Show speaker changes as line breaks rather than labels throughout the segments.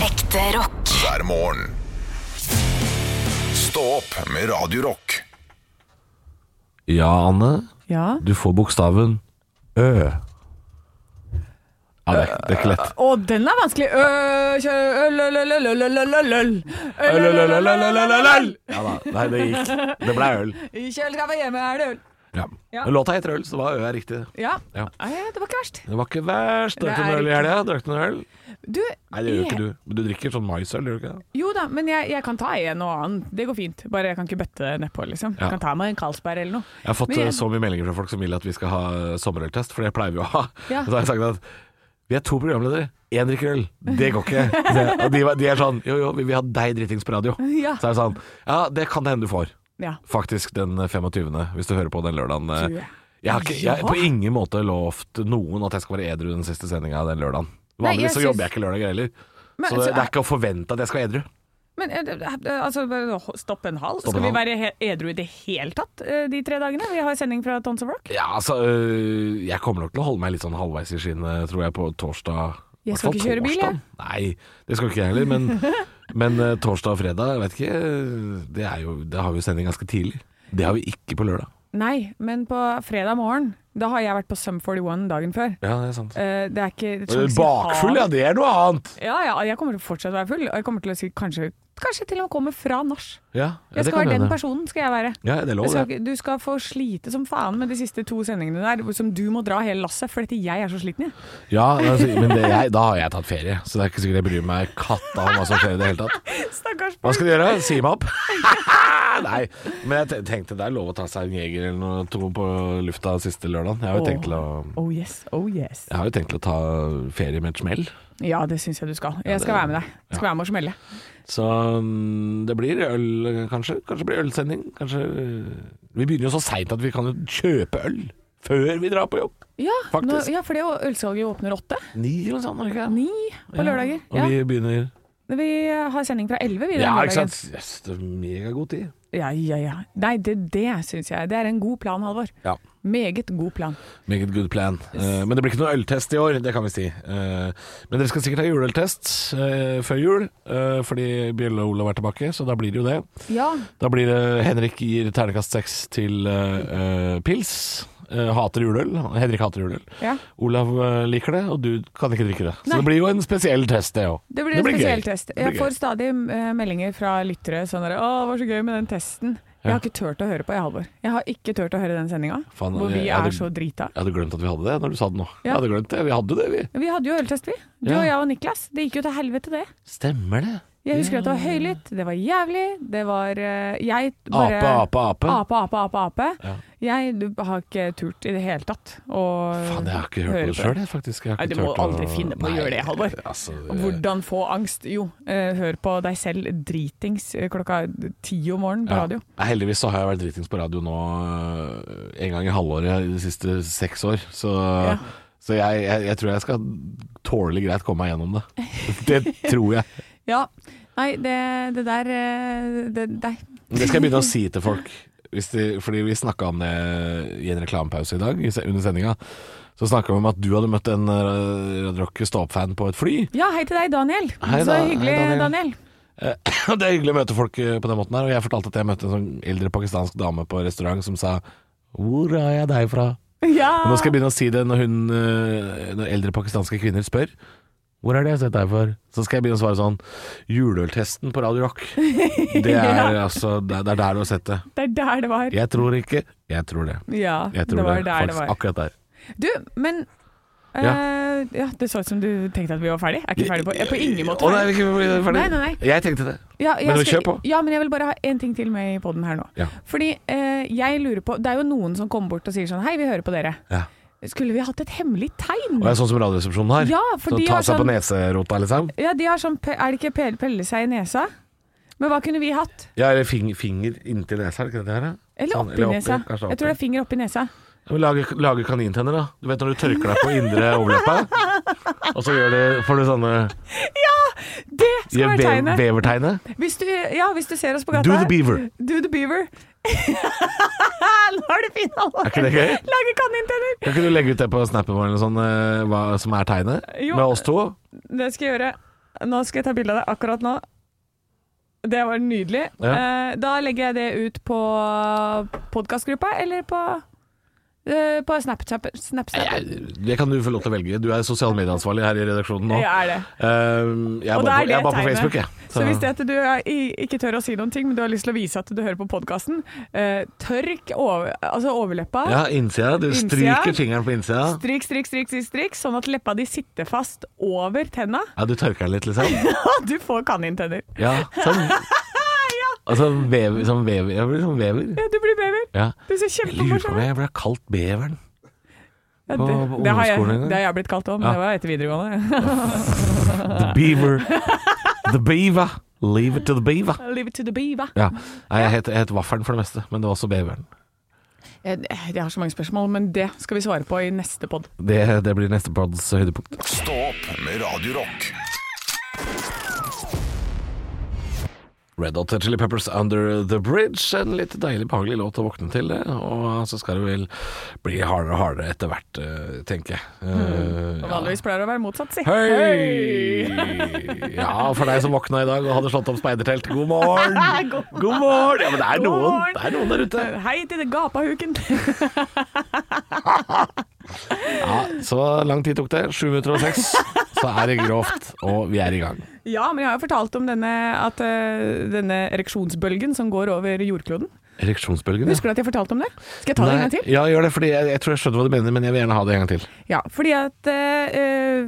Ekte rock.
hver morgen. Stå opp med Radio Rock.
Ja, Anne,
Ja.
du får bokstaven Ø. Ja, det, er- det er ikke lett.
Å, den er vanskelig. Ø, kjø, øl, øl, øl, øl, øl, øl, øl, øl, øl. Øl, øl, øl, øl, øl, øl, øl, øl.
Ja da, nei, det gikk. Det ble øl.
I kjøleskapet hjemme er det øl.
Ja.
Ja.
Men Låta heter Øl, så det var Ø er riktig.
Ja.
Ja.
Nei, det var ikke verst.
Det var ikke verst. Drakk du
Det er
noe øl i
riktig.
helga? Drakk du noe øl?
Du,
Nei, det gjør jo
jeg-
ikke du. Men du drikker sånn maisøl, gjør du ikke det?
Jo da, men jeg, jeg kan ta en og annen. Det går fint. Bare jeg kan ikke bøtte nedpå, liksom.
Ja.
Jeg kan ta meg en Carlsberg eller noe.
Jeg har fått
Men jeg-
eh, så mye meldinger fra folk som vil at vi skal ha eh, sommerøltest, for det pleier vi å ha.
Ja.
Så har jeg sagt at vi er to programledere, én drikker øl. Det går ikke. Så jeg- Og de, var- de er sånn Jo, jo, vi vil ha deg dritings på radio.
Ja.
Så er det sånn Ja, det kan det hende du får.
Ja.
Faktisk den 25., hvis du hører på den lørdagen.
Tror jeg.
Eh, Jeg har ikke, jeg har på ingen måte lovt noen at jeg skal være edru den siste sendinga den lørdagen.
Nei,
Vanligvis
jeg
så
syns-
jobber jeg ikke lørdager heller. Så
Men,
det,
altså,
det er ikke å forvente at jeg skal være edru.
Men eh, det- det- altså, bare stopp en halv.
Stopp
Skal vi
en halv.
være he- edru i det hele tatt eh, de tre dagene? Vi har sending fra Tons of Rock.
Ja, altså, øh, jeg kommer nok til å holde meg litt sånn halvveis i skinnet, tror jeg, på torsdag.
Jeg skal
Hvertfall
ikke kjøre bil, jeg.
torsdag. Nei, det skal ikke jeg heller, men, men øh, torsdag og fredag, jeg vet ikke, øh, det, er jo, det har vi jo sending ganske tidlig. Det har vi ikke på lørdag.
Nei, men på fredag morgen, da har jeg vært på Sum 41 dagen før.
Ja, det er sant.
Eh, det er ikke
Øh, Bakfull, ja, det er noe annet.
Ja, ja, jeg kommer til å fortsette å være full, og jeg kommer til å si kanskje, kanskje til og med komme fra nach.
Ja, ja
Jeg
det
skal
kan
være den
hende.
personen, skal jeg være.
Ja, det er
Jeg
lov,
skal,
det.
ikke- du skal få slite som faen med de siste to sendingene der, hvor- som du må dra hele lasset, fordi jeg er så sliten, jeg.
Ja, altså, men det, jeg, da har jeg tatt ferie, så det er ikke sikkert jeg bryr meg katta om hva som skjer i det hele tatt.
Stakkars
Hva
folk.
skal du gjøre? Si meg opp? Nei, men jeg te- tenkte det er lov å ta seg en jeger eller noe to på lufta siste lørdagen. Jeg har jo
Åh.
tenkt til å
Oh yes, oh yes.
jeg har jo tenkt til å ta ferie med et smell,
Ja, det syns jeg du skal. Jeg skal være med deg. Jeg skal være med og smelle.
så mm, det blir øl kanskje. Kanskje blir ølsending. Kanskje øh, Vi begynner jo så seint at vi kan jo kjøpe øl før vi drar på jobb.
Ja,
Faktisk.
Nå, ja for det er jo- ølsalget åpner åtte.
Ni eller noe sånt, er det ikke?
Ni på lørdager.
Ja. Og
Ja.
vi begynner
Vi har sending fra elleve, vi. den
Ja,
lørdagen.
ikke sant. Jøss, det er megagod tid.
Ja, ja, ja. Nei, det, det syns jeg. Det er en god plan, Halvor.
Ja.
Meget god plan.
Meget good plan. Eh, men det blir ikke noe øltest i år, det kan vi si. Eh, men dere skal sikkert ha juleøltest eh, før jul, eh, fordi Bjelle og Olav er tilbake, så da blir det jo det.
Ja,
Da blir det Henrik gir ternekast seks til eh, eh, pils. Eh, hater juleøl. Henrik hater juleøl.
Ja.
Olav eh, liker det, og du kan ikke drikke det. Så
Nei.
det blir jo en spesiell test, det òg.
det blir en spesiell test. Jeg får stadig eh, meldinger fra lyttere sånn der 'Å, det var så gøy med den testen'. Jeg
Ja.
har ikke turt å høre på, jeg, Halvor. Jeg har ikke turt å høre den sendinga
Faen,
hvor
jeg-
vi
jeg
er
hadde-
så drita.
Jeg hadde glemt at vi hadde det når du sa det nå.
Ja.
Jeg hadde glemt det, Vi hadde det, vi.
Vi hadde jo øltest, vi. Du
Ja.
og jeg og Niklas. Det gikk jo til helvete, det.
Stemmer det.
Jeg husker at det var høylytt, det var jævlig, det var eh, Jeg bare
Ape, ape, ape.
Ape, ape, ape. ape. Jeg du, har ikke turt i det hele tatt å
Faen, jeg har ikke hørt
høre
på det sjøl, faktisk. Jeg har
Nei,
ikke
du
turt
må
å-
aldri finne på å
Nei,
gjøre det, Halvor.
Altså, det-
Hvordan få angst? Jo, eh, hør på deg selv dritings eh, klokka ti om morgenen på
ja.
radio.
Nei, eh, Heldigvis så har jeg vært dritings på radio nå øh, en gang i halvåret de siste seks år, så,
Ja.
så jeg, jeg, jeg tror jeg skal tålelig greit komme meg gjennom det. Det tror jeg.
Ja. Nei, det, det der eh, det, Nei.
Men Det skal jeg begynne å si til folk. Hvis de, fordi vi snakka om det i en reklamepause i dag, i se- under sendinga. Så snakka vi om at du hadde møtt en øh, Radio Rock Stå-opp-fan på et fly.
Ja, hei til deg, Daniel.
Hei,
Så
da-
hyggelig,
hei, Daniel.
Daniel.
Og Det er hyggelig å møte folk eh, på den måten her. Og jeg fortalte at jeg møtte en sånn eldre pakistansk dame på restaurant som sa Hvor er jeg deg fra?
Ja.
Og nå skal jeg begynne å si det når hun eh, Når eldre pakistanske kvinner spør. Hvor er det jeg har sett deg for? Så skal jeg begynne å svare sånn Juleøltesten på Radio Rock. Det er altså Det det er der du har sett det.
Det er der det var.
Jeg tror ikke. Jeg tror det.
Ja,
Jeg tror
det var der det
Faktisk,
var.
Akkurat der.
Du, men eh, ja, Det så ut som du tenkte at vi var ferdig. Er ikke ferdig på, jeg er på ingen måte.
Å, nei, vi
ferdig.
er ikke ferdig.
Nei, nei, nei.
Jeg tenkte det.
Ja, jeg
Men vi
skal-
kjør på.
Ja, men jeg vil bare ha én ting til med i poden her nå.
Ja.
Fordi eh, jeg lurer på Det er jo noen som kommer bort og sier sånn Hei, vi hører på dere.
Ja.
Skulle vi hatt et hemmelig tegn?
Og det er sånn som Radioresepsjonen har.
Ja, for
så
de
ta
har
seg på
sånn-
neserota, liksom.
Ja, de har sånn pe- Er det ikke pe- pelle seg i nesa? Men hva kunne vi hatt?
Ja, eller fing, finger inntil nesa, er det ikke det det her? da?
Eller
Sånn,
oppi nesa?
oppi, kanskje
Jeg tror det
oppi.
er finger oppi nesa.
Ja, men Lage, lage kanintenner, da. Du vet når du tørker deg på indre overleppa, og så gjør du, får du sånne
Det skal
gjør
være
ve-
tegnet!
bevertegnet.
Hvis du, ja, hvis du ser oss på gata
Do the beaver.
Do the beaver. Nå er det fin alvor!
Er ikke det gøy?
Lage kanintenner!
Kan ikke du legge ut det på snappen vår eller sånn, eh, hva som er tegnet?
Jo.
Med oss to?
Det skal jeg gjøre. Nå skal jeg ta bilde av deg akkurat nå. Det var nydelig.
Ja.
Eh, da legger jeg det ut på podkastgruppa eller på, eh, på Snapchat. Snapchat.
Jeg, det kan du få lov til å velge. Du er sosialmedieansvarlig her i redaksjonen nå.
Jeg er det.
Ehm, jeg er
Og
bare på,
da er
jeg
det
er bare på
tegnet.
Facebook, jeg.
Så hvis det at du er, i- ikke tør å si noen ting, men du har lyst til å vise at du hører på podkasten, eh, tørk over, altså overleppa.
ja, innsida. Du
Innsida.
stryker fingeren på innsida.
Stryk, stryk, stryk, stryk, stryk, sånn at leppa di sitter fast over tenna.
Ja, du tørker den litt, liksom.
Du får kanintenner.
Ja, sånn. Altså, vever, sånn vever. Jeg blir sånn vever.
Ja, du blir bever.
Ja.
Du ser
Jeg lurer på om
kjempemorsom ut.
jeg ble kalt beveren.
Ja,
på-
det,
på
det, har jeg-
ungdomsskolen en gang.
det har jeg blitt kalt òg, men
Ja.
det var etter videregående.
The beaver. The beaver. Leave it to the beaver.
Leave it to the beaver.
Ja. Nei, jeg het, jeg het Vaffelen for det meste, men det var også beveren.
Jeg, jeg har så mange spørsmål, men det skal vi svare på i neste pod.
Det, det blir neste pods høydepunkt.
Stå opp med Radio Rock.
Red Hot Chili Peppers Under The Bridge. En litt deilig, behagelig låt å våkne til. det. Og så skal det vel bli hardere og hardere etter hvert, eh, tenker jeg. Eh,
Og vanligvis pleier det å være motsatt, si.
Hei! Ja, for deg som våkna i dag og hadde slått opp speidertelt. God morgen!
God
God morgen! Ja, men det er
God
noen,
morgen!
det er noen der ute.
Hei til det gapahuken.
Ja, så lang tid tok det. 706. Så er det grovt, og vi er i gang.
Ja, men jeg har jo fortalt om denne, at, eh, denne ereksjonsbølgen som går over jordkloden.
Ereksjonsbølgen,
Husker du at jeg fortalte om det? Skal jeg ta det en gang til?
Ja, gjør det, fordi jeg, jeg tror jeg skjønner hva du mener, men jeg vil gjerne ha det en gang til.
Ja, fordi at eh, eh,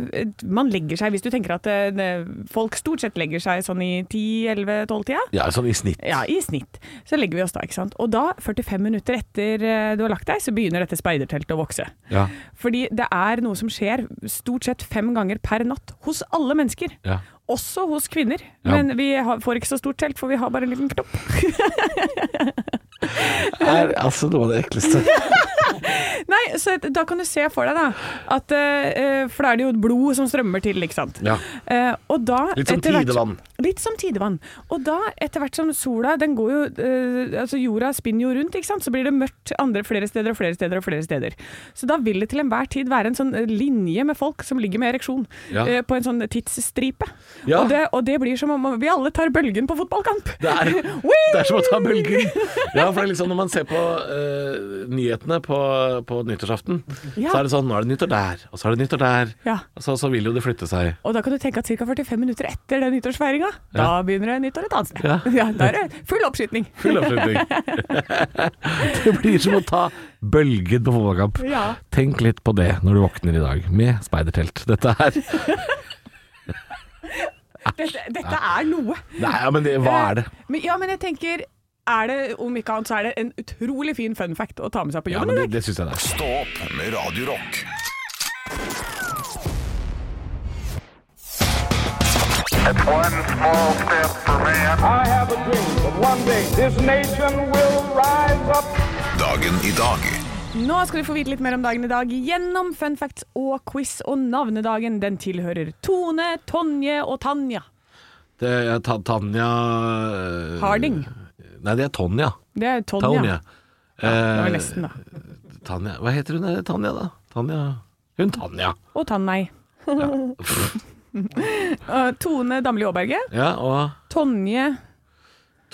man legger seg, hvis du tenker at eh, det- folk stort sett legger seg sånn i 10-11-12-tida,
Ja, sånn i snitt.
ja, i snitt, så legger vi oss da, ikke sant? Og da, 45 minutter etter eh, du har lagt deg, så begynner dette speiderteltet å vokse.
Ja,
Fordi det er noe som skjer stort sett fem ganger per natt hos alle mennesker.
ja.
Også hos kvinner,
Ja.
men vi har, får ikke så stort telt, for vi har bare en liten knopp.
er altså noe av det ekleste.
Nei, så et- da kan du se for deg da at eh, eh, For da er det jo blod som strømmer til, ikke sant.
Ja.
Eh, og da,
Litt som
etter hvert-
tidevann.
Litt som tidevann. Og da, etter hvert som sola Den går jo eh, Altså jorda spinner jo rundt, ikke sant. Så blir det mørkt andre flere steder og flere steder og flere steder. Så da vil det til enhver tid være en sånn eh, linje med folk som ligger med ereksjon.
Ja.
eh, på en sånn tidsstripe.
Ja.
Og, det, og det blir som om vi alle tar bølgen på fotballkamp.
Det er,
Whee!
det er som å ta bølgen. Ja, for det er liksom når man ser på eh, nyhetene på, på nyttårsaften,
Ja.
så er det sånn Nå er det nyttår der, og så er det nyttår der.
Ja.
Og så, så vil jo det flytte seg.
Og da kan du tenke at ca. 45 minutter etter den nyttårsfeiringa, da begynner det nyttår et annet sted.
Ja.
Ja. da er det full oppskytning.
Full oppslutning. Det blir som å ta bølgen på fotballkamp.
Ja.
Tenk litt på det når du våkner i dag, med speidertelt. Dette er
Dette, dette er noe.
Nei, ja, men det, hva er det?
Eh, Men, ja, men jeg tenker er det, Om ikke annet så er det en utrolig fin fun fact å ta med seg på
Ja,
jobben
men
i
det,
dag.
det syns jeg det er.
Stå opp med Radio Rock.
One small step for man.
I have a dream that one day this nation will rise up.
Dagen i dag.
Nå skal du få vite litt mer om dagen i dag gjennom fun facts og quiz. Og navnedagen den tilhører Tone, Tonje og Tanja.
det er Ta- Tanja eh,
Harding.
Nei, det er Tonja.
Det er Tonja.
Tonja.
Det var
Eh,
nesten, da.
Tanja Hva heter hun der? Tanja, da? Tanja Hun Tanja.
Og Tannei. Eh, Tone Damli Aaberge.
Ja, og
Tonje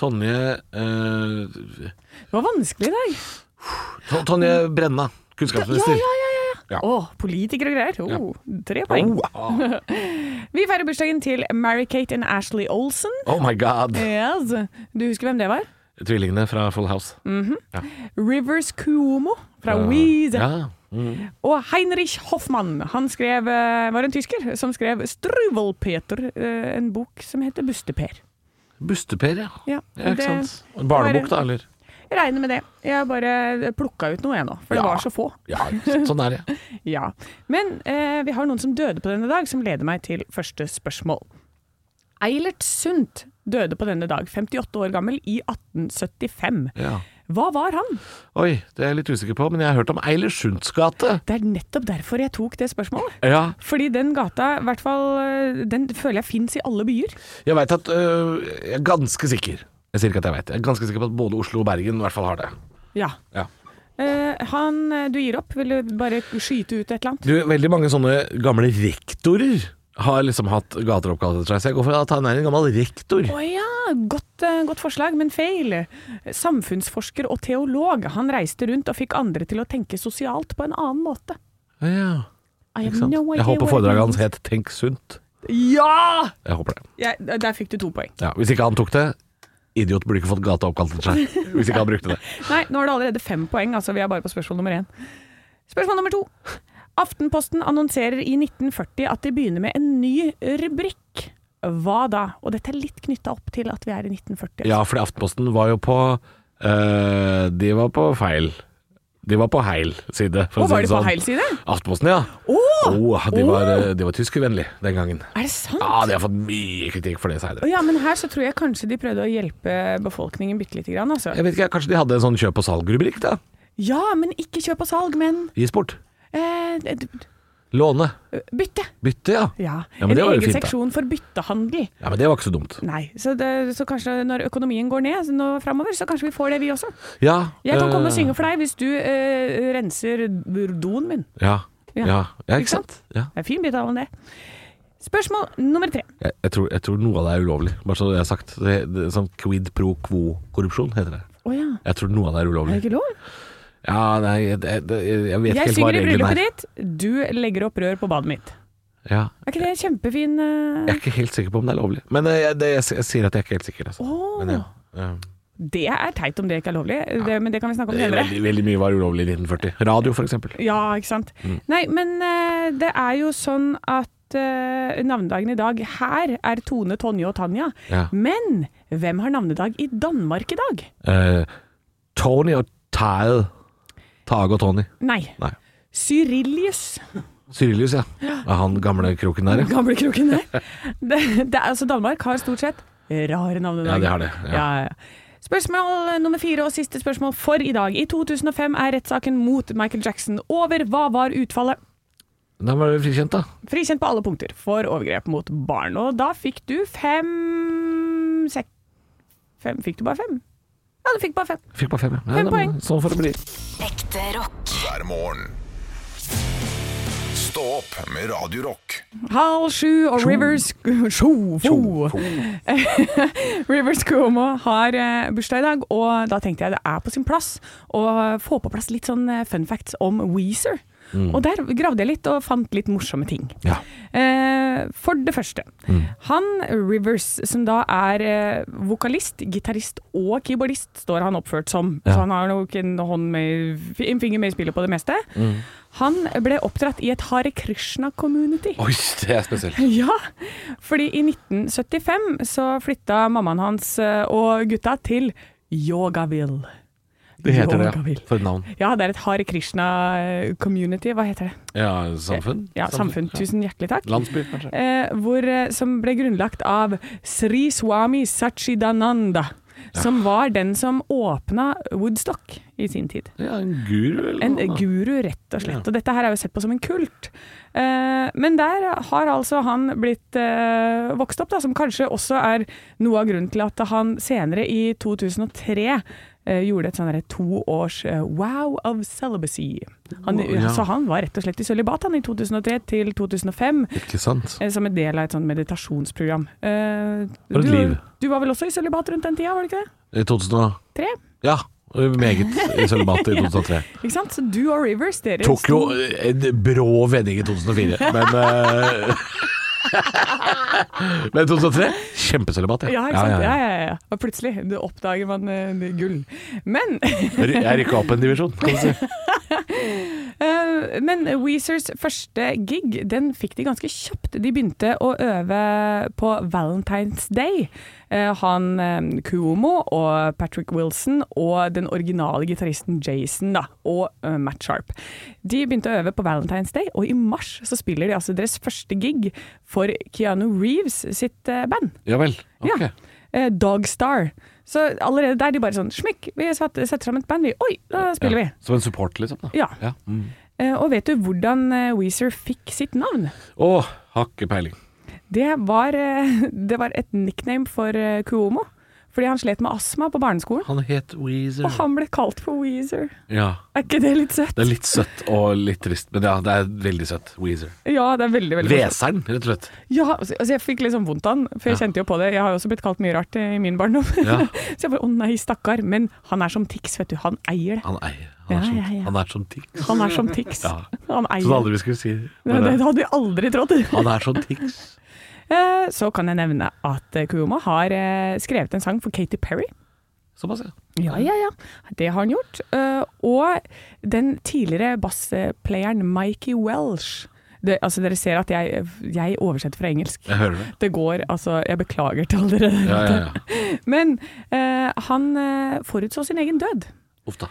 Tonje eh,
Det var vanskelig i dag.
Ton- Tonje Brenna, kunnskapsminister.
Ja, ja, ja, ja.
Ja.
Å, politikere og greier. Oh, Tre poeng.
Oh,
Vi feirer bursdagen til Mary-Kate and Ashley Olsen.
oh my god.
Yes. Du husker hvem det var?
Tvillingene fra Full House.
Rivers Cuomo fra
Ja.
Weezer.
Ja.
Og Heinrich Hoffmann. Han skrev, eh, var en tysker som skrev 'Struvelpeter', eh, en bok som heter 'Busteper'.
Busteper, ja.
Ja,
ja ikke
det-
sant. En barnebok,
det-
da, eller?
Jeg regner med det. Jeg bare plukka ut noe, jeg nå, for det
Ja.
var så få.
Ja, sånn er det.
Ja. Men eh, vi har noen som døde på denne dag, som leder meg til første spørsmål. Eilert Sundt døde på denne dag, 58 år gammel, i 1875.
Ja.
Hva var han?
Oi, det er jeg litt usikker på, men jeg har hørt om Eilersunds gate.
Det er nettopp derfor jeg tok det spørsmålet.
Ja.
Fordi den gata, i hvert fall, eh, den føler jeg fins i alle byer.
Jeg veit at øh, Jeg er ganske sikker. Jeg sier ikke at jeg veit. Jeg er ganske sikker på at både Oslo og Bergen i hvert fall har det.
Ja.
Ja.
Eh, han eh, du gir opp, vil du bare skyte ut et eller annet?
Du, veldig mange sånne gamle rektorer har liksom hatt gater oppkalt etter seg. Så jeg går for at han er en gammel rektor.
Å ja, godt, eh, godt forslag, men feil. Samfunnsforsker og teolog. Han reiste rundt og fikk andre til å tenke sosialt på en annen måte.
Ja,
I have
ikke sant?
no idea
Jeg håper
what it
foredraget hans
means.
het 'Tenk sunt'.
Ja!
Jeg håper det.
Jeg- der fikk du to poeng.
Ja, hvis ikke han tok det Idiot burde ikke fått gata oppkalt etter seg. Hvis ikke han brukte det.
Nei, nå er det allerede fem poeng, altså vi er bare på spørsmål nummer én. Spørsmål nummer to. Aftenposten annonserer i 1940 at de begynner med en ny rubrikk. Hva da? Og dette er litt knytta opp til at vi er i 1940.
Ja, fordi Aftenposten var jo på eh, De var på feil. De var på heil side. for å
Og
si
var
det
de på
sånn.
heil side?
Aftenposten, ja.
Åh!
Åh, de, var,
Åh!
eh, de var tyskervennlig den gangen.
Er det sant?
Ja, de har fått mye kritikk for det seinere.
Ja, men her så tror jeg kanskje de prøvde å hjelpe befolkningen bitte lite grann, altså.
Jeg vet ikke, Kanskje de hadde en sånn kjøp og salg-rubrikk? da
Ja, men ikke kjøp og salg, men
Gis bort.
eh, d- d-
Låne.
bytte.
Bytte, ja.
Ja,
Ja, men
En
det var jo
egen
fint, da.
seksjon for byttehandel.
Ja, Men det var ikke så dumt.
Nei, så, det, så kanskje når økonomien går ned så nå framover, så kanskje vi får det vi også.
Ja,
Jeg kan komme og
eh,
synge for deg hvis du eh, renser doen min.
Ja,
Ja.
ja. ja,
Ikke
ikke sant? Ja.
Det er fin bit av det. Spørsmål nummer tre.
Jeg, jeg, tror, jeg tror noe av det er ulovlig, bare så det er sagt. Det, det, er sånn quid pro quo-korrupsjon heter det.
Å ja.
Jeg tror noe av det er
Er
ulovlig.
det ikke lov?
Ja, nei, jeg, jeg, jeg, jeg vet ikke
Jeg
helt hva
synger i
reglene
bryllupet
er.
ditt, du legger opp rør på badet mitt.
Ja.
Er ikke det en kjempefin eh,
Jeg er ikke helt sikker på om det er lovlig. Men eh, jeg, det, jeg, s- jeg sier at jeg er ikke helt sikker. Altså.
Åh.
Men ja, ja.
Det er teit om det ikke er lovlig, det, men det kan vi snakke om senere.
Veldig, veldig mye var ulovlig i 1940. Radio, for eksempel.
Ja, ikke sant.
Mm.
Nei, men eh, det er jo sånn at eh, navnedagen i dag her er Tone, Tonje og Tanja.
Ja.
Men hvem har navnedag i Danmark i dag?
Eh, Tony og Tide. Tage og Tony.
Nei.
Nei.
Cyrilius,
Cyrilius, ja. Er Han gamle kroken der, ja.
gamlekroken der. det, det, er- altså Danmark har stort sett rare navnedager.
Ja, de har det, ja.
Ja, ja. Spørsmål nummer fire og siste spørsmål for i dag. I 2005 er rettssaken mot Michael Jackson over. Hva var utfallet?
Da var du frikjent, da.
Frikjent på alle punkter for overgrep mot barn. Og da fikk du fem sek... Fem? Fikk du bare fem? Ja, du fikk bare fem.
Fikk bare fem, ja.
Fem
da-
poeng.
Sånn får det bli.
Ekte rock.
hver morgen. Stå opp med Radio Rock.
Halv sju og Rivers Sjo, fo. Rivers Cuomo har eh, bursdag i dag, og da tenkte jeg det er på sin plass å få på plass litt sånn eh, fun facts om Weezer. Og der gravde jeg litt og fant litt morsomme ting.
Mm. Ja. Mm.
Eh, for det første. Han Rivers, som da er eh, vokalist, gitarist og keyboardist, står han oppført som.
Ja.
Så han har nok en, hånd med, en finger med i spillet på det meste.
Mm.
Han ble oppdratt i et Hare Krishna-community.
Oi, det er spesielt.
Ja, fordi i 1975 så flytta mammaen hans eh, og gutta til Yogaville.
Det heter det, ja.
Yogaville.
For et navn.
Ja, det er et Hare Krishna-community. Hva heter det?
Ja, samfunn?
Ja, samfunn. Tusen hjertelig takk.
Landsby, kanskje.
eh, hvor, eh, som ble grunnlagt av Sri Swami Sachidananda, som var den som åpna Woodstock i sin tid.
Ja, en guru eller
En
noe annet.
guru, rett og slett.
Ja.
Og dette her er jo sett på som en kult. Eh, men der har altså han blitt eh, vokst opp, da, som kanskje også er noe av grunnen til at han senere, i 2003, eh, gjorde et sånn derre to års eh, wow of celibacy. Han,
Wow, ja.
Så han var rett og slett i sølibat, han, i 2003 til 2005.
Ikke sant?
Eh, Som en del av et sånt meditasjonsprogram. Eh,
For et
du,
liv.
du var vel også i sølibat rundt den tida, var du ikke det?
I 2000
Tre?
Ja, meget i sølibat i 2003.
Ikke sant? Så du og Rivers, dere
Tok jo
sto-
en brå vending i 2004, men eh, Men 2003 kjempesølibat.
Ja, ikke sant? Ja, ja, ja. Og plutselig du oppdager man eh, gull. Men,
Ry- Jeg rykka opp en divisjon, kan du si.
eh, men Weezers første gig, den fikk de ganske kjapt. De begynte å øve på Valentine's Day. Eh, han eh, Cuomo og Patrick Wilson og den originale gitaristen Jason da, og eh, Matt Sharp. De begynte å øve på Valentine's Day, og i mars så spiller de altså deres første gig for Keanu Reeves sitt eh, band.
Ja vel. Ok.
Ja. Eh, Dogstar. Så allerede der de bare sånn Smykk, vi satt, setter sammen et band, vi. Oi, da spiller vi.
Som en support, liksom? da
Ja.
Ja. Mm.
Eh, og vet du hvordan eh, Weezer fikk sitt navn?
Å, har ikke peiling.
Det var, eh, det var et nickname for eh, Cuomo. fordi han slet med astma på barneskolen.
Han het Weezer.
Og han ble kalt for Weezer.
Ja.
Er ikke det litt søtt?
Det er litt søtt og litt trist, men ja, det er veldig søtt. Weezer.
Ja, det er veldig, veldig morsomt.
Hveseren, rett og slett.
Ja, altså altså, jeg fikk litt sånn vondt av han, for jeg
Ja.
kjente jo på det. Jeg har jo også blitt kalt mye rart eh, i min barndom.
Ja.
så jeg bare å nei, stakkar. Men han er som Tix, vet du. Han eier det.
Han eier. Han er
Ja,
som,
ja, ja.
Han er som Tix.
Han er som Tix.
Ja.
Han eier
Som aldri vi skulle si.
Nei,
Men,
det
eh,
hadde jeg aldri trodd.
han er sånn som Tix.
Eh, Så kan jeg nevne at eh, Kuyoma har eh, skrevet en sang for Katy Perry.
Såpass, ja.
Ja, ja, ja. Det har han gjort. Eh, Og den tidligere bassplayeren Mikey Welsh. Det, altså dere ser at jeg, jeg oversetter fra engelsk.
Jeg hører det.
Det går, altså Jeg beklager til dere.
Ja, ja, ja.
Men eh, han eh, forutså sin egen død.
Uff da.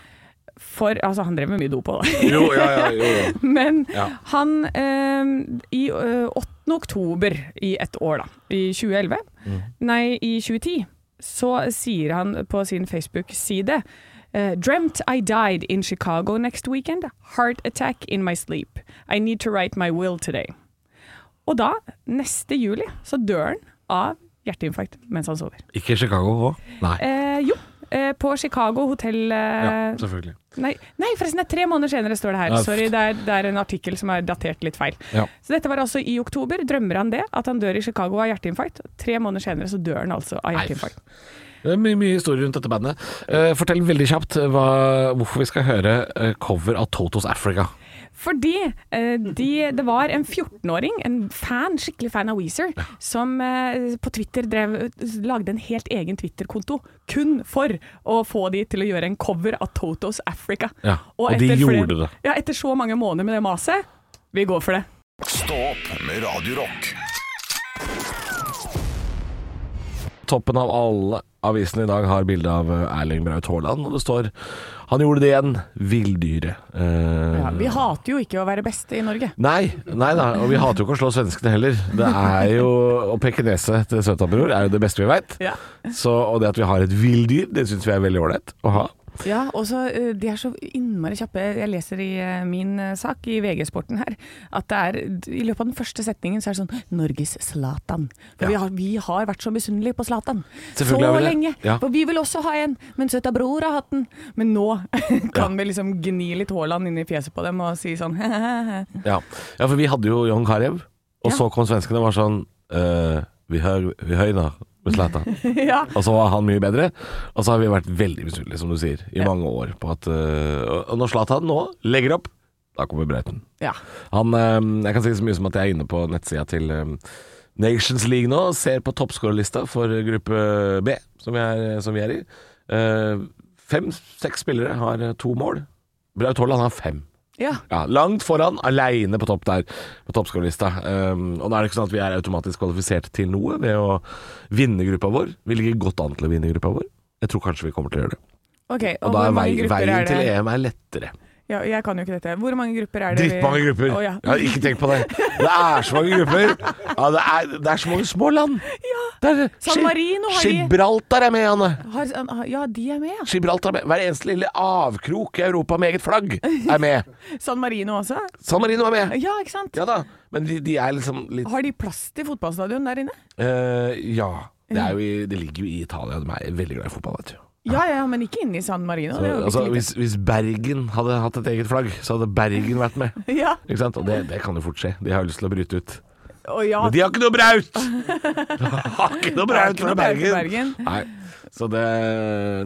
For altså, han drev med mye dop òg, da.
Jo, ja, ja, jo, jo.
Men
Ja.
han eh, i eh, 8. oktober i et år, da, i 2011,
Mm.
nei, i 2010, så sier han på sin Facebook-side eh, dreamt I died in Chicago next weekend. Heart attack in my sleep. I need to write my will today. Og da, neste juli, så dør han av hjerteinfarkt mens han sover.
Ikke Chicago òg? Nei.
Eh, jo, eh, på Chicago hotell eh,
Ja, selvfølgelig.
Nei, nei, forresten, det er tre måneder senere står det her.
Ja,
Sorry, det er, det er en artikkel som er datert litt feil.
Ja.
Så dette var altså i oktober. Drømmer han det? At han dør i Chicago av hjerteinfarkt? Tre måneder senere så dør han altså av
Nei.
hjerteinfarkt.
Det er mye, mye historie rundt dette bandet. Eh, fortell veldig kjapt hva, hvorfor vi skal høre eh, cover av Totos Africa.
Fordi eh, de, det var en 14-åring, en fan, skikkelig fan av Weezer, som eh, på Twitter drev, lagde en helt egen Twitter-konto kun for å få de til å gjøre en cover av Totos Africa.
Ja, og de
etter
gjorde
flere-
det.
Ja, etter så mange måneder med det maset. Vi går for det.
Stå opp med Radio Rock.
Toppen av alle avisene i dag har bilde av eh, Erling Braut Haaland, og det står 'Han gjorde det igjen, villdyret'. Eh,
Ja, vi hater jo ikke å være beste i Norge.
Nei, nei da, og vi hater jo ikke å slå svenskene heller. Det er jo Å peke nese til søtabror er jo det beste vi veit.
Ja.
Og det at vi har et villdyr, det syns vi er veldig ålreit å ha.
Ja, og så eh, De er så innmari kjappe. Jeg leser i eh, min eh, sak i VG-sporten her at det er i løpet av den første setningen så er det sånn Norges Zlatan. For
Ja.
vi, har, vi har vært så misunnelige på Zlatan. Så
Selvfølgelig har vi det.
lenge.
Ja.
For vi vil også ha en, men søta bror har hatt den. Men nå kan vi liksom gni litt Haaland inn i fjeset på dem og si sånn
Ja, ja for vi hadde jo Jon Carew, og
Ja.
så kom svenskene og var sånn eh, Vi, høy, vi høyner med Zlatan.
Ja.
Og så var han mye bedre. Og så har vi vært veldig misunnelige, som du sier, i mange år på at eh, og- Og når Zlatan nå legger opp, da kommer Brauten.
ja.
Han, eh, jeg kan si så mye som at jeg er inne på nettsida til eh, Nations League nå, ser på toppskårerlista for gruppe B, som vi er, som vi er i. Fem-seks spillere har eh, to mål. Braut Haaland har fem.
ja.
Ja, langt foran, aleine på topp der, på toppskårerlista. Um, og nå er det ikke sånn at vi er automatisk kvalifisert til noe ved å vinne gruppa vår. Vi ligger godt an til å vinne gruppa vår. Jeg tror kanskje vi kommer til å gjøre det.
OK. Og,
Og da
hvor
er vei,
mange grupper
veien
er
til E.
det?
EM er lettere.
Ja, jeg kan jo ikke dette. Hvor mange grupper er det? vi-
Drittmange grupper!
Å,
ja.
ja.
Ikke tenk på det. Det er så mange grupper! Ja, det, er, det er så mange små land. Det er,
San Marino har de-
Gibraltar er med, Anne.
Har, ja, de er med, ja.
Gibraltar er med. Hver eneste lille avkrok i Europa med eget flagg er med.
San Marino også?
San Marino er med.
Ja, ikke sant?
Ja da, men de, de er liksom litt
Har de plass til fotballstadion der inne?
Eh, ja. Det, er jo i, det ligger jo i Italia. De er veldig glad i fotball, vet du.
Ja, ja, men ikke inne i San Marino. Det er jo
altså,
bitte lite.
hvis, hvis Bergen hadde hatt et eget flagg, så hadde Bergen vært med.
Ja,
Ikke sant? Og det, det kan jo fort skje. De har jo lyst til å bryte ut.
og ja.
Men de har ikke noe braut! De har ikke noe
Har
braut
ikke
fra
noe braut
Bergen!
fra Bergen.
Nei. Så det,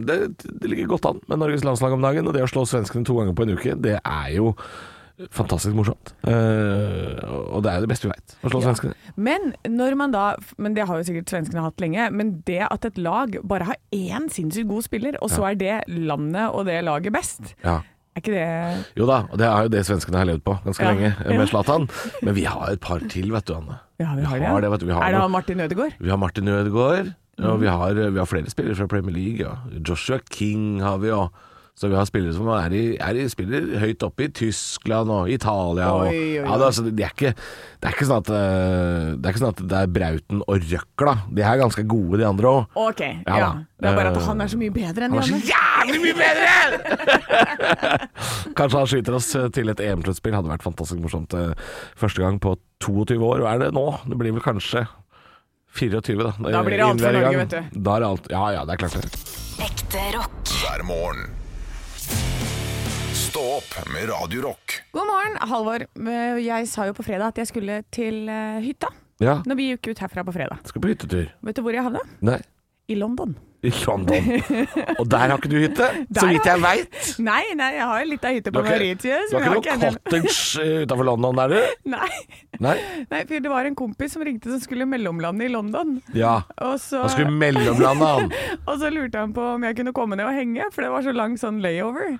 det, det ligger godt an med Norges landslag om dagen. Og det å slå svenskene to ganger på en uke, det er jo fantastisk morsomt. Eh, og det er jo det beste vi veit, å slå svenskene.
Men når man da Men det har jo sikkert svenskene hatt lenge. Men det at et lag bare har én sinnssykt god spiller, og så er det landet og det laget best,
Ja.
er ikke det
Jo da, og det er jo det svenskene har levd på ganske
Ja.
lenge eh, med
Ja.
Zlatan. Men vi har et par til, vet du, Anne.
Ja, vi har det.
har det, vet du. Vi har,
er det han
noe-
Martin Ødegaard?
vi har Martin Ødegaard,
Mm.
og vi har, vi har flere spillere fra Premier League. Ja. Joshua King har vi òg. Så vi har spillere som er i, er i spiller høyt oppe i Tyskland og Italia. Og,
Oi, oi, oi.
Ja, det, er altså, det, er ikke, det er ikke sånn at eh, Det er ikke sånn at det er Brauten og Røkla. De er ganske gode, de andre òg.
OK. Ja,
da.
Det er bare at
Eh,
han er så mye bedre
Han
enn de
er så
andre.
jævlig mye bedre! Kanskje han skyter oss eh, til et EM-sluttspill. Hadde vært fantastisk morsomt. eh, Første gang på 22 år. Hva er det nå? Det blir vel kanskje 24, da.
Da blir det alt for
Hver
Norge,
gang.
vet du.
Da er det alt. Ja ja, det er klart det.
Ekte rock.
hver morgen. Stå opp med Radio Rock.
God morgen, Halvor. Eh, Jeg sa jo på fredag at jeg skulle til eh, hytta.
Ja,
Når vi gikk ut herfra på fredag.
skal på hyttetur.
Vet du hvor jeg havna?
Nei.
I London.
I London. Og der har ikke du hytte,
Der
så vidt
har-
jeg veit.
Nei, nei, jeg har litt av
Du
hytte
har
på
ikke,
Mauritius.
du har
men
ikke noe
jeg har ikke en
cottage eh, utenfor London, er du?
del- Nei.
Nei?
nei, for det var en kompis som ringte som skulle mellomlande i London.
Ja.
Og så,
Han skulle mellomlande, han.
og så lurte han på om jeg kunne komme ned og henge, for det var så lang sånn layover.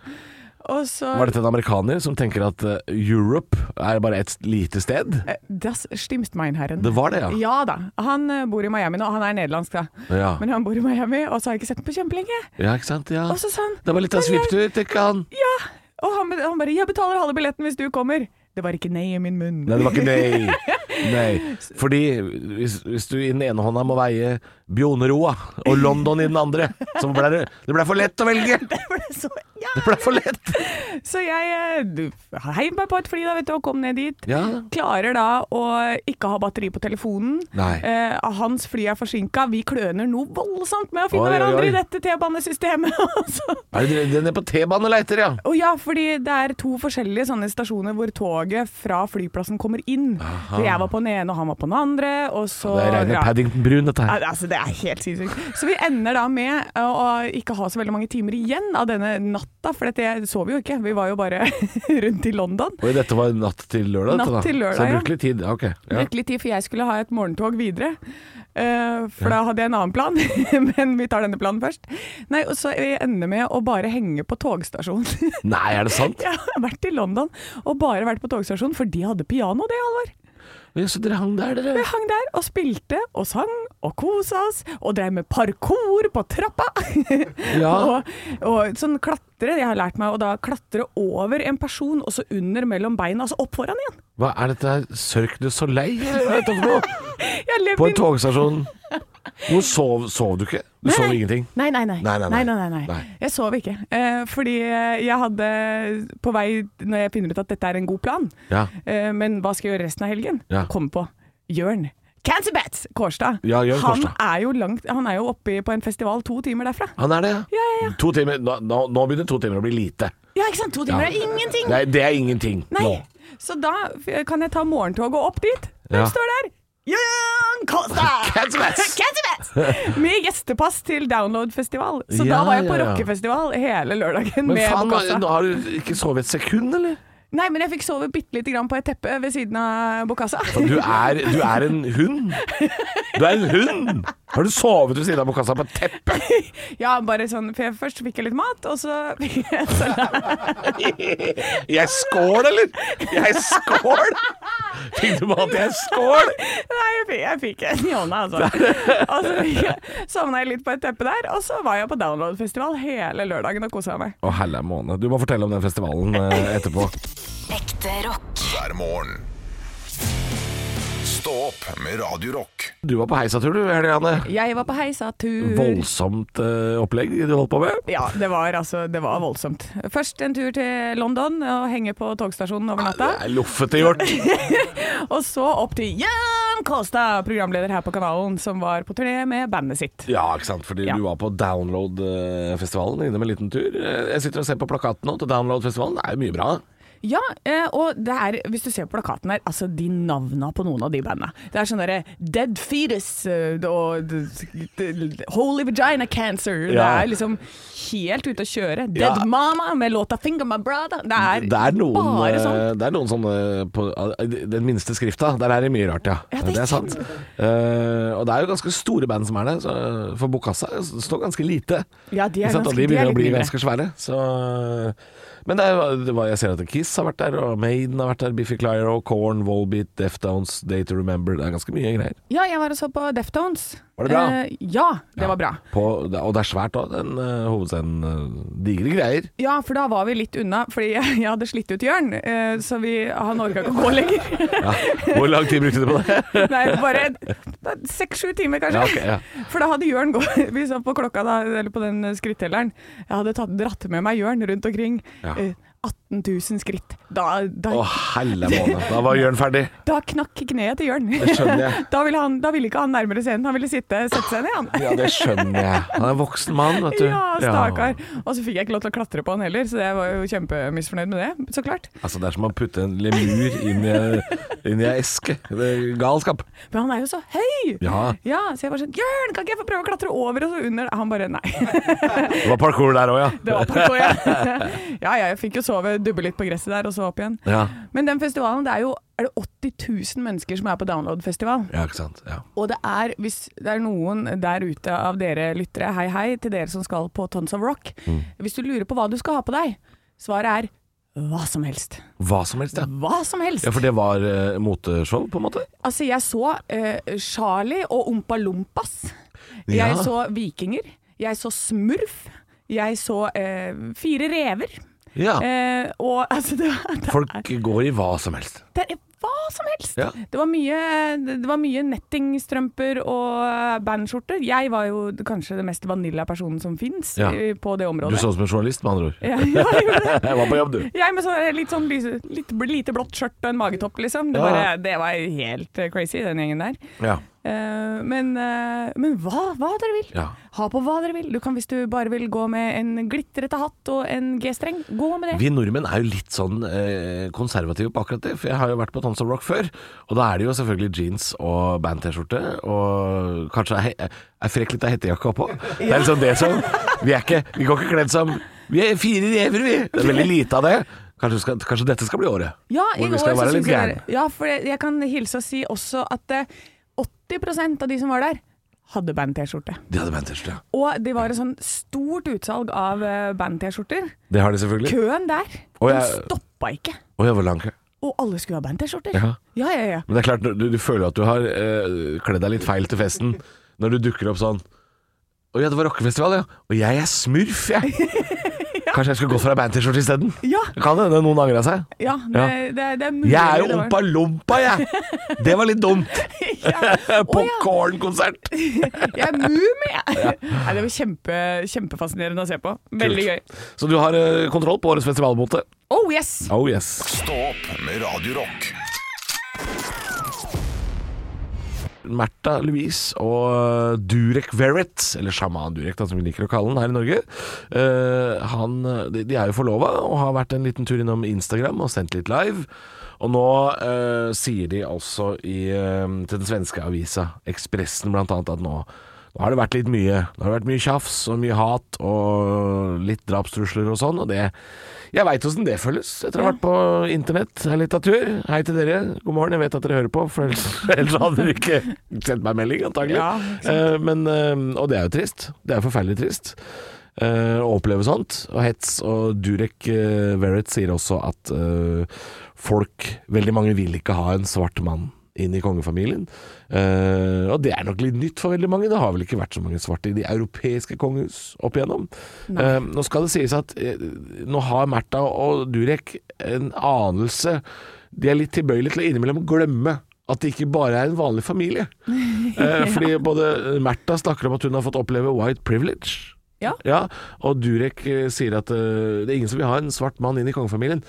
Og så
Var dette en amerikaner som tenker at eh, Europe er bare et lite sted?
Eh, Das stimmt, mein Herren.
Det var det, ja.
Ja da. Han eh, bor i Miami nå. Han er nederlandsk, da.
Ja.
Men han bor i Miami, og så har jeg ikke sett ham på kjempelenge.
Ja, ikke sant? Ja.
Og så sa han
Det var litt av
«Men jeg-
svipptur, tenker han.
Ja. Og han, han bare 'Jeg betaler halve billetten hvis du kommer'. Det var ikke nei i min munn.
Nei, det var ikke nei. nei. Fordi hvis, hvis du i den ene hånda må veie Bjoneroa og London i den andre, så ble det, det ble for lett å velge. Det
For det er så, ja.
ble for lett.
så jeg eh, du, heiv meg på et fly da, vet du, og kom ned dit.
Ja.
Klarer da å ikke ha batteri på telefonen.
Nei.
Eh, hans fly er forsinka. Vi kløner noe voldsomt med å finne
Oi, oi,
hverandre
oi.
i dette T-banesystemet. og så-
Er det den er på T-baneleiter, ja?
Og ja, fordi det er to forskjellige sånne stasjoner hvor toget fra flyplassen kommer inn. Så jeg var på den ene, og han var på den andre. Og så
Det regner
Ja.
Paddington Brun, dette
Ja,
her.
det- Altså, det er helt sinnssykt. Så vi ender da med uh, å ikke ha så veldig mange timer igjen av denne natta, for dette jeg sov jo ikke. Vi var jo bare rundt i London.
Oi, dette var natt til lørdag? dette,
Natt
da.
til lørdag,
Så jeg
ja.
brukte litt tid. Ja, Ok. Ja.
Brukte litt tid, for jeg skulle ha et morgentog videre. Eh, for da hadde jeg en annen plan, men vi tar denne planen først. Nei, og så vi ender med å bare henge på togstasjonen.
Nei, er det sant?
jeg har vært i London og bare vært på togstasjonen, for de hadde piano, det, Halvor.
Ja, så dere hang der, dere.
Vi hang der og spilte og sang og kosa oss og drev med parkour på trappa.
Ja.
og, og sånn klatre, jeg har lært meg å da klatre over en person og så under mellom beina, altså opp foran igjen.
Hva er dette her? Cirque du Soleil, eller hva er dette for noe?
Jeg har levd
På en
min-
togstasjon. Hvor sov, sov du ikke? Du
Nei,
sov
nei.
ingenting?
Nei nei nei.
Nei, nei, nei. Nei.
Jeg sov ikke. Eh, fordi jeg hadde på vei, når jeg finner ut at dette er en god plan,
Ja.
eh, men hva skal jeg gjøre resten av helgen?
Ja.
Kom på Jørn. Cancerbats Kårstad.
Ja, Jørn
han,
Kårstad.
er jo langt, han er jo oppe på en festival to timer derfra.
Han er det,
Ja, ja, ja.
To timer. Nå, nå, nå begynner to timer å bli lite.
Ja, ikke sant? To timer er ingenting.
Nei, det er ingenting
Nei.
nå.
Så da f- kan jeg ta morgentoget opp dit. Hvem
Ja.
står der? Jørn Kolstad!
Cancerbass!
Cancerbass! Med gjestepass til Download-festival. Så da
Ja,
var jeg
ja,
på
ja.
rockefestival hele lørdagen
Men
med
faen,
Bokassa.
nå har du ikke sovet et sekund, eller?
Nei, men jeg fikk sove bitte lite grann på et teppe ved siden av Bokassa.
Du er, du er en hund. Du er en hund! Har du sovet ved siden av Mokasa på et teppe?
Ja, bare sånn, for jeg, Først fikk jeg litt mat, og så fikk jeg salat.
Jeg skål, eller? Jeg skål! Fikk du mat? Jeg skål!
Nei, jeg fikk, jeg fikk en i hånda, altså. Og så fikk jeg- sovna jeg litt på et teppe der, og så var jeg på Download-festival hele lørdagen og kosa meg.
Å, helle måne. Du må fortelle om den festivalen eh, etterpå.
Ekte rock.
hver morgen. Stå opp med Radio Rock.
Du var på heisatur, du, Helene.
Jeg var på heisatur.
Voldsomt eh, opplegg du holdt på med.
Ja, det var, altså, det var voldsomt. Først en tur til London og henge på togstasjonen over natta.
Det er Loffete gjort.
Og så opp til Jan Kolstad, programleder her på kanalen, som var på turné med bandet sitt.
Ja, ikke sant. Fordi
Ja.
du var på Download-festivalen innom en liten tur. Eh, Jeg sitter og ser på plakaten nå til Download-festivalen. Det er jo mye bra.
Ja, eh, og det er, hvis du ser på plakaten her, altså de navna på noen av de bandene. Det er sånn derre Dead Fetus eh, og d- d- Holy Vagina Cancer. Det
Ja.
er liksom helt ute å
Ja.
kjøre. Dead Mama med låta Finger My Brother. Det er,
Det er noen,
bare
eh,
sånn.
det er noen sånne på eh, Den minste skrifta. Der er det mye rart, ja.
Ja, det er
sant. Eh, og det er jo ganske store band som er der. så For Bokassa står ganske lite.
Ja, de er
Ikke sant?
ganske-
og
de
de
er
begynner
litt
å bli
mindre.
ganske svære. Så, eh, men det er, det var, jeg ser at Kiss har vært der, og Maiden har vært der, Biffy Clyro, Corn, Volbeat, Deftones, Day to Remember. Det er ganske mye greier.
Ja, jeg var og så på Deftones.
Var det bra?
Eh, ja, det var bra.
På, og det er svært òg, den eh, hovedscenen. eh, digre greier.
Ja, for da var vi litt unna, fordi jeg, jeg hadde slitt ut Jørn, eh, så vi, han orka ikke å gå lenger.
Hvor lang tid brukte du på det?
Nei, bare en- seks-sju timer, kanskje.
Ja, ok, ja.
For da hadde Jørn gått Vi så på klokka, da, eller på den skrittelleren. Jeg hadde tatt, dratt med meg Jørn rundt omkring.
Ja.
Eh, 18 000 skritt. Da, da,
Å, helle måned. Da var Jørn ferdig.
da knakk kneet til Jørn.
skjønner jeg.
da, ville han, da ville ikke han nærmere scenen, han ville sitte, sette seg ned, han.
Ja, det skjønner jeg. Han er en voksen mann, vet du.
Ja, stakkar. Og så fikk jeg ikke lov til å klatre på han heller, så jeg var jo kjempemisfornøyd med det, så klart.
Altså, det er som å putte en lemur inn i, inn i ei eske. Det er galskap.
Men han er jo så høy!
Ja.
Så jeg bare sånn Jørn, kan ikke jeg få prøve å klatre over og så under? Han bare nei.
Det var parkour der òg, ja.
Det var parkour, ja. ja, ja. Jeg fikk jo sove, dubbe litt på gresset der, og så opp igjen.
Ja.
Men den festivalen, det er jo er det 80 000 mennesker som er på download-festival.
Ja, ikke sant. Ja.
Og det er, hvis det er noen der ute av dere lyttere, hei hei til dere som skal på Tons of Rock.
Mm.
Hvis du lurer på hva du skal ha på deg, svaret er hva som helst.
Hva som helst, ja.
Hva som helst.
Ja, For det var eh, moteshow, på en måte?
Altså, jeg så eh, Charlie og Ompa Lompas.
Ja.
Jeg så vikinger. Jeg så smurf. Jeg så eh, fire rever.
Ja.
Eh, og altså, det var, det,
Ah. Folk går i hva som helst.
det er hva som helst!
Ja.
Det, var mye, det var mye nettingstrømper og eh, bandskjorter. Jeg var jo kanskje den mest vanilla personen som fins
Ja.
eh, på det
Du
området.
så ut som en journalist, med andre ord.
Ja, jeg gjorde det.
Jeg var på jobb, du.
Jeg med sånn, eh, litt sånn lyse, litt, lite blått skjørt og en magetopp, liksom. Det,
Ja.
bare, det var helt eh, crazy, den gjengen der.
Ja.
Eh, men eh, men hva, hva dere vil.
Ja.
Ha på hva dere vil. Du kan, hvis du bare vil gå med en glitrete hatt og en G-streng, gå med det.
Vi nordmenn er jo litt sånn eh, konservative på akkurat det, for jeg har jo vært på Tons of Rock før, og da er det jo selvfølgelig jeans og band-T-skjorte, og kanskje ei ei frekk lita hettejakke oppå. Det er liksom det som Vi er ikke Vi går ikke kledd som Vi er fire rever, vi! Det er veldig lite av det. Kanskje, skal, kanskje dette skal bli året?
Ja, i
Hvor vi
år
skal
så
være litt
synes jeg det-
gærne.
Ja, for jeg, jeg kan hilse og si også at eh, 80 av de som var der, hadde band-T-skjorte.
De hadde band-T-skjorte. ja.
Og det var et sånn stort utsalg av eh, band-T-skjorter.
Det har de selvfølgelig.
Køen der,
Og
den
jeg-
stoppa ikke.
Og jeg var lang kø.
Og alle skulle ha band-T-skjorter.
Ja.
ja, ja. ja.
Men det er klart, du, du føler at du har eh, kledd deg litt feil til festen når du dukker opp sånn Å ja, det var rockefestival, ja. Og jeg er smurf, jeg. Kanskje jeg skulle gått for ei band-T-skjorte isteden?
Ja.
Kan hende noen angra seg.
Ja, det,
Ja.
Det, det er mulig.
Jeg er jo
det var-
Ompa Lompa, jeg! Det var litt dumt.
ja. Å, ja.
Popkornkonsert.
Jeg er mumie! Nei, det var kjempe, kjempefascinerende å se på. Veldig gøy.
Så du har eh, kontroll på årets festivalmote.
Oh yes!
Oh yes.
Stå opp med Radio Rock.
Märtha Louise og eh, Durek Verrett, eller sjaman Durek da, som vi liker å kalle han her i Norge, eh, han, de, de er jo forlova og har vært en liten tur innom Instagram og sendt litt live. Og nå eh, sier de altså i, eh, til den svenske avisa Ekspressen blant annet at nå nå har det vært litt mye. Nå har det vært mye tjafs og mye hat og litt drapstrusler og sånn, og det Jeg veit åssen det føles etter å ha vært på internett en liten tur. Hei til dere. God morgen, jeg vet at dere hører på, for ellers, ellers hadde dere ikke sendt meg melding, antagelig.
Ja,
Eh, men, eh, og det er jo trist. Det er forferdelig trist eh, å oppleve sånt. Og hets. Og Durek uh, Verrett sier også at eh, folk, veldig mange, vil ikke ha en svart mann inn i kongefamilien. Eh, og det er nok litt nytt for veldig mange. Det har vel ikke vært så mange svarte i de europeiske kongehus opp igjennom. Eh, nå skal det sies at eh, nå har Märtha og Durek en anelse De er litt tilbøyelige til å innimellom glemme at det ikke bare er en vanlig familie. Eh, Fordi både Märtha snakker om at hun har fått oppleve white privilege.
Ja.
Og Durek eh, sier at eh, det er ingen som vil ha en svart mann inn i kongefamilien.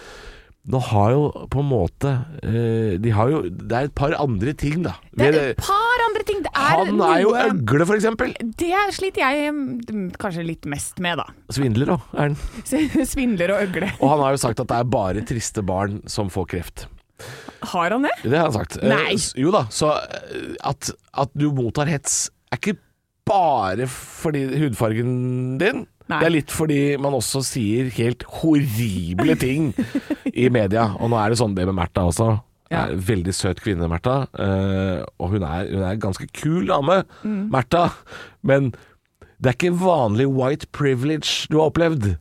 Nå har jo på en måte eh, De har jo Det er et par andre ting, da.
Det er
Ved-
et par andre ting. Det er
han er jo
noe-
øgle, for eksempel.
Det sliter jeg mm, kanskje litt mest med, da.
Svindler òg, er han.
Svindler og øgle.
Og han har jo sagt at det er bare triste barn som får kreft.
Har han det?
Det har han sagt. Eh,
Nei.
s- jo da, så eh, at, at du mottar hets er ikke bare fordi hudfargen din.
Nei.
Det er litt fordi man også sier helt horrible ting i media. Og nå er det sånn det med Märtha også.
Ja.
Er en veldig søt kvinne, Märtha. Eh, og hun er, hun er en ganske kul dame,
Mm.
Märtha. Men det er ikke vanlig white privilege du har opplevd.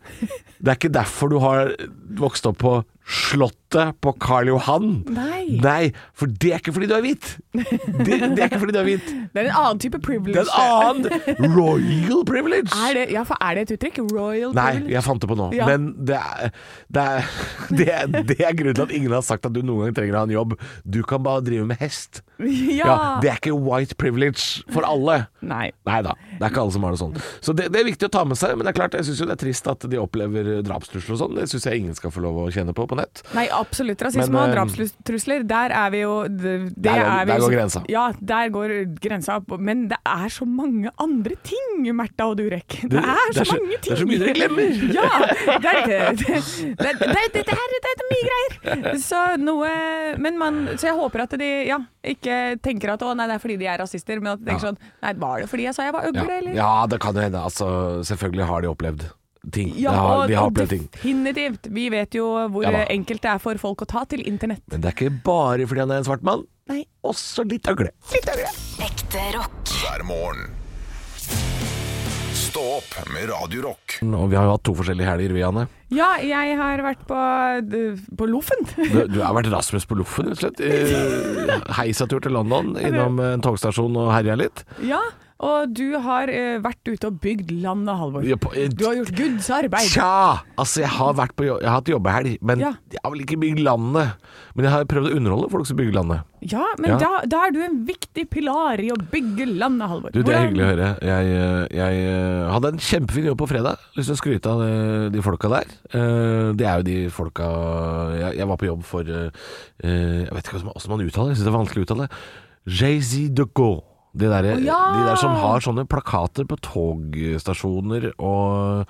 Det er ikke derfor du har vokst opp på Slottet på Karl Johan.
Nei.
Nei, for det er ikke fordi du er hvit. Det, det er ikke fordi du er hvit.
Det er en annen type privilege.
Det er en annen royal privilege.
Er det, ja, for er det et uttrykk? Royal
Nei,
privilege?
jeg fant det på nå.
Ja.
Men det er, det, er, det, er, det er grunnen til at ingen har sagt at du noen gang trenger å ha en jobb. Du kan bare drive med hest.
Ja.
det er ikke white privilege for alle.
Nei.
Nei da. Det er ikke alle som har det sånn. Så det, det er viktig å ta med seg, men det er klart, jeg syns jo det er trist at de opplever drapstrusler og sånn. Det syns jeg ingen skal få lov å kjenne på på nett.
Nei, absolutt. Rasisme
Men,
og
eh,
drapstrusler, der er vi jo det, det
Der går-
er vi,
der
jo-
går grensa.
Ja, der går grensa. Men det er så mange andre ting, Märtha og Durek. Det, er så
det er så-
mange ting.
det er så mye dere glemmer.
Ja. Det er ikke det, det, det, det, det, er, det er mye greier. Så noe Men man Så jeg håper at de ja, ikke tenker at å nei, det er fordi de er rasister, men at de tenker
Ja.
sånn Nei, var det fordi jeg sa jeg var
Ja,
øgle, eller?
ja det kan jo hende. Altså, selvfølgelig har de opplevd ting.
Ja,
de har,
og-
de har
og
opplevd ting.
definitivt. Vi vet jo hvor
Ja da.
enkelt det er for folk å ta til internett.
Men det er ikke bare fordi han er en svart mann.
Nei.
Også litt øgle.
Ekte rock.
hver morgen. Stå opp med Radio Rock.
Og vi har jo hatt to forskjellige helger, vi, Anne.
Ja, jeg har vært på, d- på Loffen.
Du, du har vært Rasmus på loffen, rett og slett. Eh, Heisatur til London, innom en togstasjon og herja litt.
ja, og du har eh, vært ute og bygd landet, Halvor.
Ja, på- eh,
Du har gjort Guds arbeid.
Tja! Altså, jeg har, vært på, jo- jeg har hatt jobbehelg, men
Ja.
jeg har vel ikke bygd landet. Men jeg har prøvd å underholde folk som bygger landet.
Ja, men
Ja.
Da, da er du en viktig pilar i å bygge landet, Halvor.
Du, Det er
Hvordan-
hyggelig å høre. Jeg, eh, jeg eh, hadde en kjempefin jobb på fredag. Lyst til å skryte av eh, de folka der. Eh, Det er jo de folka Jeg, jeg var på jobb for eh, eh, Jeg vet ikke hvordan man- hvordan man uttaler det, jeg syns det er vanskelig å uttale. Jay-Z de Gaulle. De der,
Å, ja!
de der som har sånne plakater på togstasjoner og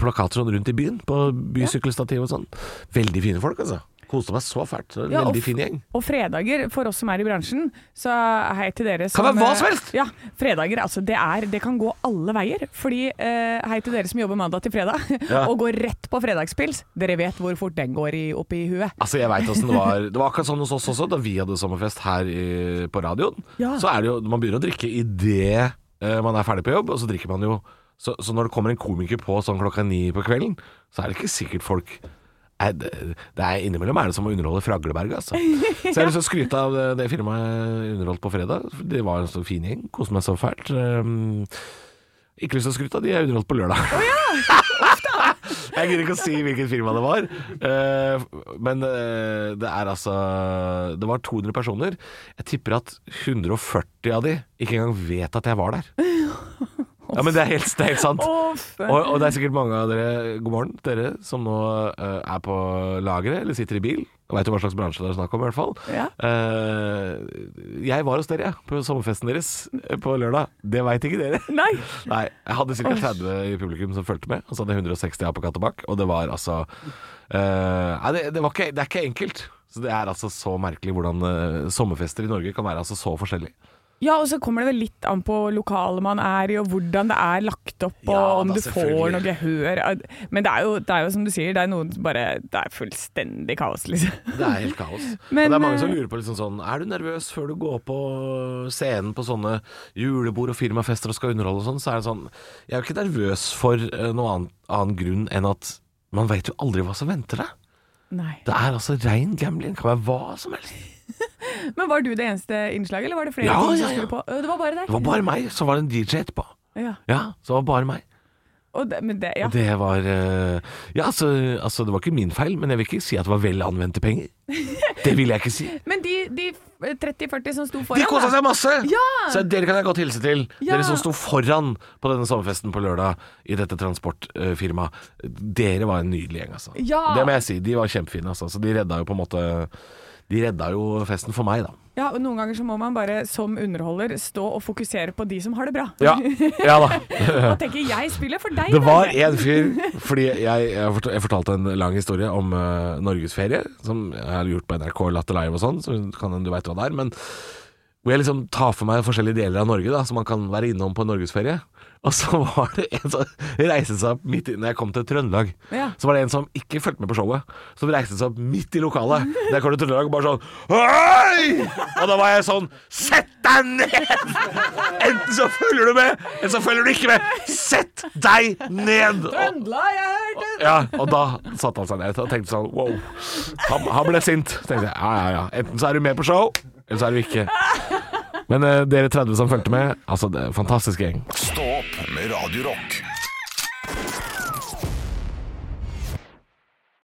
plakater sånn rundt i byen. På bysykkelstativ og sånn. Veldig fine folk, altså. Koste meg så fælt. Det var en
Ja, og
Veldig
f-
fin gjeng.
Og fredager, for oss som er i bransjen, så hei til dere som eh,
være hva som helst!
Ja, fredager, altså det er Det kan gå alle veier. Fordi eh, hei til dere som jobber mandag til fredag,
Ja.
og går rett på fredagspils. Dere vet hvor fort den går i, opp i huet.
Altså jeg vet hvordan Det var Det var akkurat sånn hos oss også, da vi hadde sommerfest her i, på radioen.
Ja.
Så er det jo Man begynner å drikke idet uh, man er ferdig på jobb, og så drikker man jo så, så når det kommer en komiker på sånn klokka ni på kvelden, så er det ikke sikkert folk Nei, det, det er Innimellom er det som å underholde Fragleberg, altså. Så jeg har lyst til å skryte av det, det firmaet jeg underholdt på fredag. for Det var en så fin gjeng. Koste meg så fælt. Um, ikke lyst til å skryte av de jeg underholdt på lørdag. Jeg gidder ikke å si hvilket firma det var. Eh, men eh, det er altså Det var 200 personer. Jeg tipper at 140 av de ikke engang vet at jeg var der. Ja, men det er helt, det er helt sant.
Uff.
Og, og det er sikkert mange av dere, god morgen, dere som nå eh, er på lageret eller sitter i bil. Veit jo hva slags bransje det er snakk om, i hvert fall.
Ja.
Eh, jeg var hos dere, jeg, på sommerfesten deres eh, på lørdag. Det veit ikke dere.
Nei.
Nei, jeg hadde ca. 30 i publikum som fulgte med, og så hadde jeg 160 apekatt og bakk, og det var altså eh, Nei, det, det, var ikke, det er ikke enkelt. Så Det er altså så merkelig hvordan eh, sommerfester i Norge kan være altså så forskjellig.
Ja, og så kommer det vel litt an på lokalet man er i, og hvordan det er lagt opp, og
Ja,
om
da,
du
selvfølgelig.
får noe gehør. Men det er, jo, det er jo som du sier, det er noen som bare Det er fullstendig kaos, liksom.
Det er helt kaos.
Men,
og det er mange som
eh,
lurer på liksom sånn Er du nervøs før du går på scenen på sånne julebord og firmafester og skal underholde og sånn? Så er det sånn Jeg er jo ikke nervøs for eh, noen annen, annen grunn enn at man veit jo aldri hva som venter deg.
Nei.
Det er altså rein gambling. Kan være hva som helst.
Men var du det eneste innslaget, eller var det flere
Ja,
ting
ja, ja.
som skulle på? Ø, Det var bare deg.
Det var bare meg, så var det en DJ etterpå.
Ja.
Ja, så var det bare meg.
Og det, men det, ja.
Og det var eh, Ja, altså, altså, det var ikke min feil, men jeg vil ikke si at det var vel anvendte penger. Det vil jeg ikke si.
Men de, de 30-40 som sto foran,
De kosa
da.
seg masse!
Ja!
Så dere kan jeg godt hilse til.
Ja.
Dere som sto foran på denne sommerfesten på lørdag i dette transportfirmaet. Dere var en nydelig gjeng, altså.
Ja.
Det må jeg si. De var kjempefine, altså. Så de redda jo på en måte De redda jo festen for meg, da.
Ja, og noen ganger så må man bare som underholder stå og fokusere på de som har det bra.
Ja, ja da.
og tenke 'jeg spiller for deg'.
Det var
Børge.
en fyr Fordi jeg, jeg, fortalte, jeg fortalte en lang historie om uh, norgesferie, som jeg har gjort på NRK Latter Live og sånn, så kan hende du veit hva det er. Men hvor jeg liksom tar for meg forskjellige deler av Norge, da, som man kan være innom på en norgesferie. Og så var det en som reiste seg opp midt i Når jeg kom til Trøndelag,
Ja.
så var det en som ikke fulgte med på showet, som reiste seg opp midt i lokalet. Da jeg kom til Trøndelag, bare sånn Hei! Og da var jeg sånn Sett deg ned! Enten så følger du med, eller så følger du ikke med. Sett deg ned! Og,
Trøndelag, jeg hørte det!
ja, og da satte han seg ned og tenkte sånn Wow. Han, han ble sint. Tenkte jeg, ja, ja, ja. Enten så er du med på show, eller så er du ikke. Men eh, dere 30 som fulgte med, altså det er en fantastisk gjeng.
Stå opp med Radio Rock.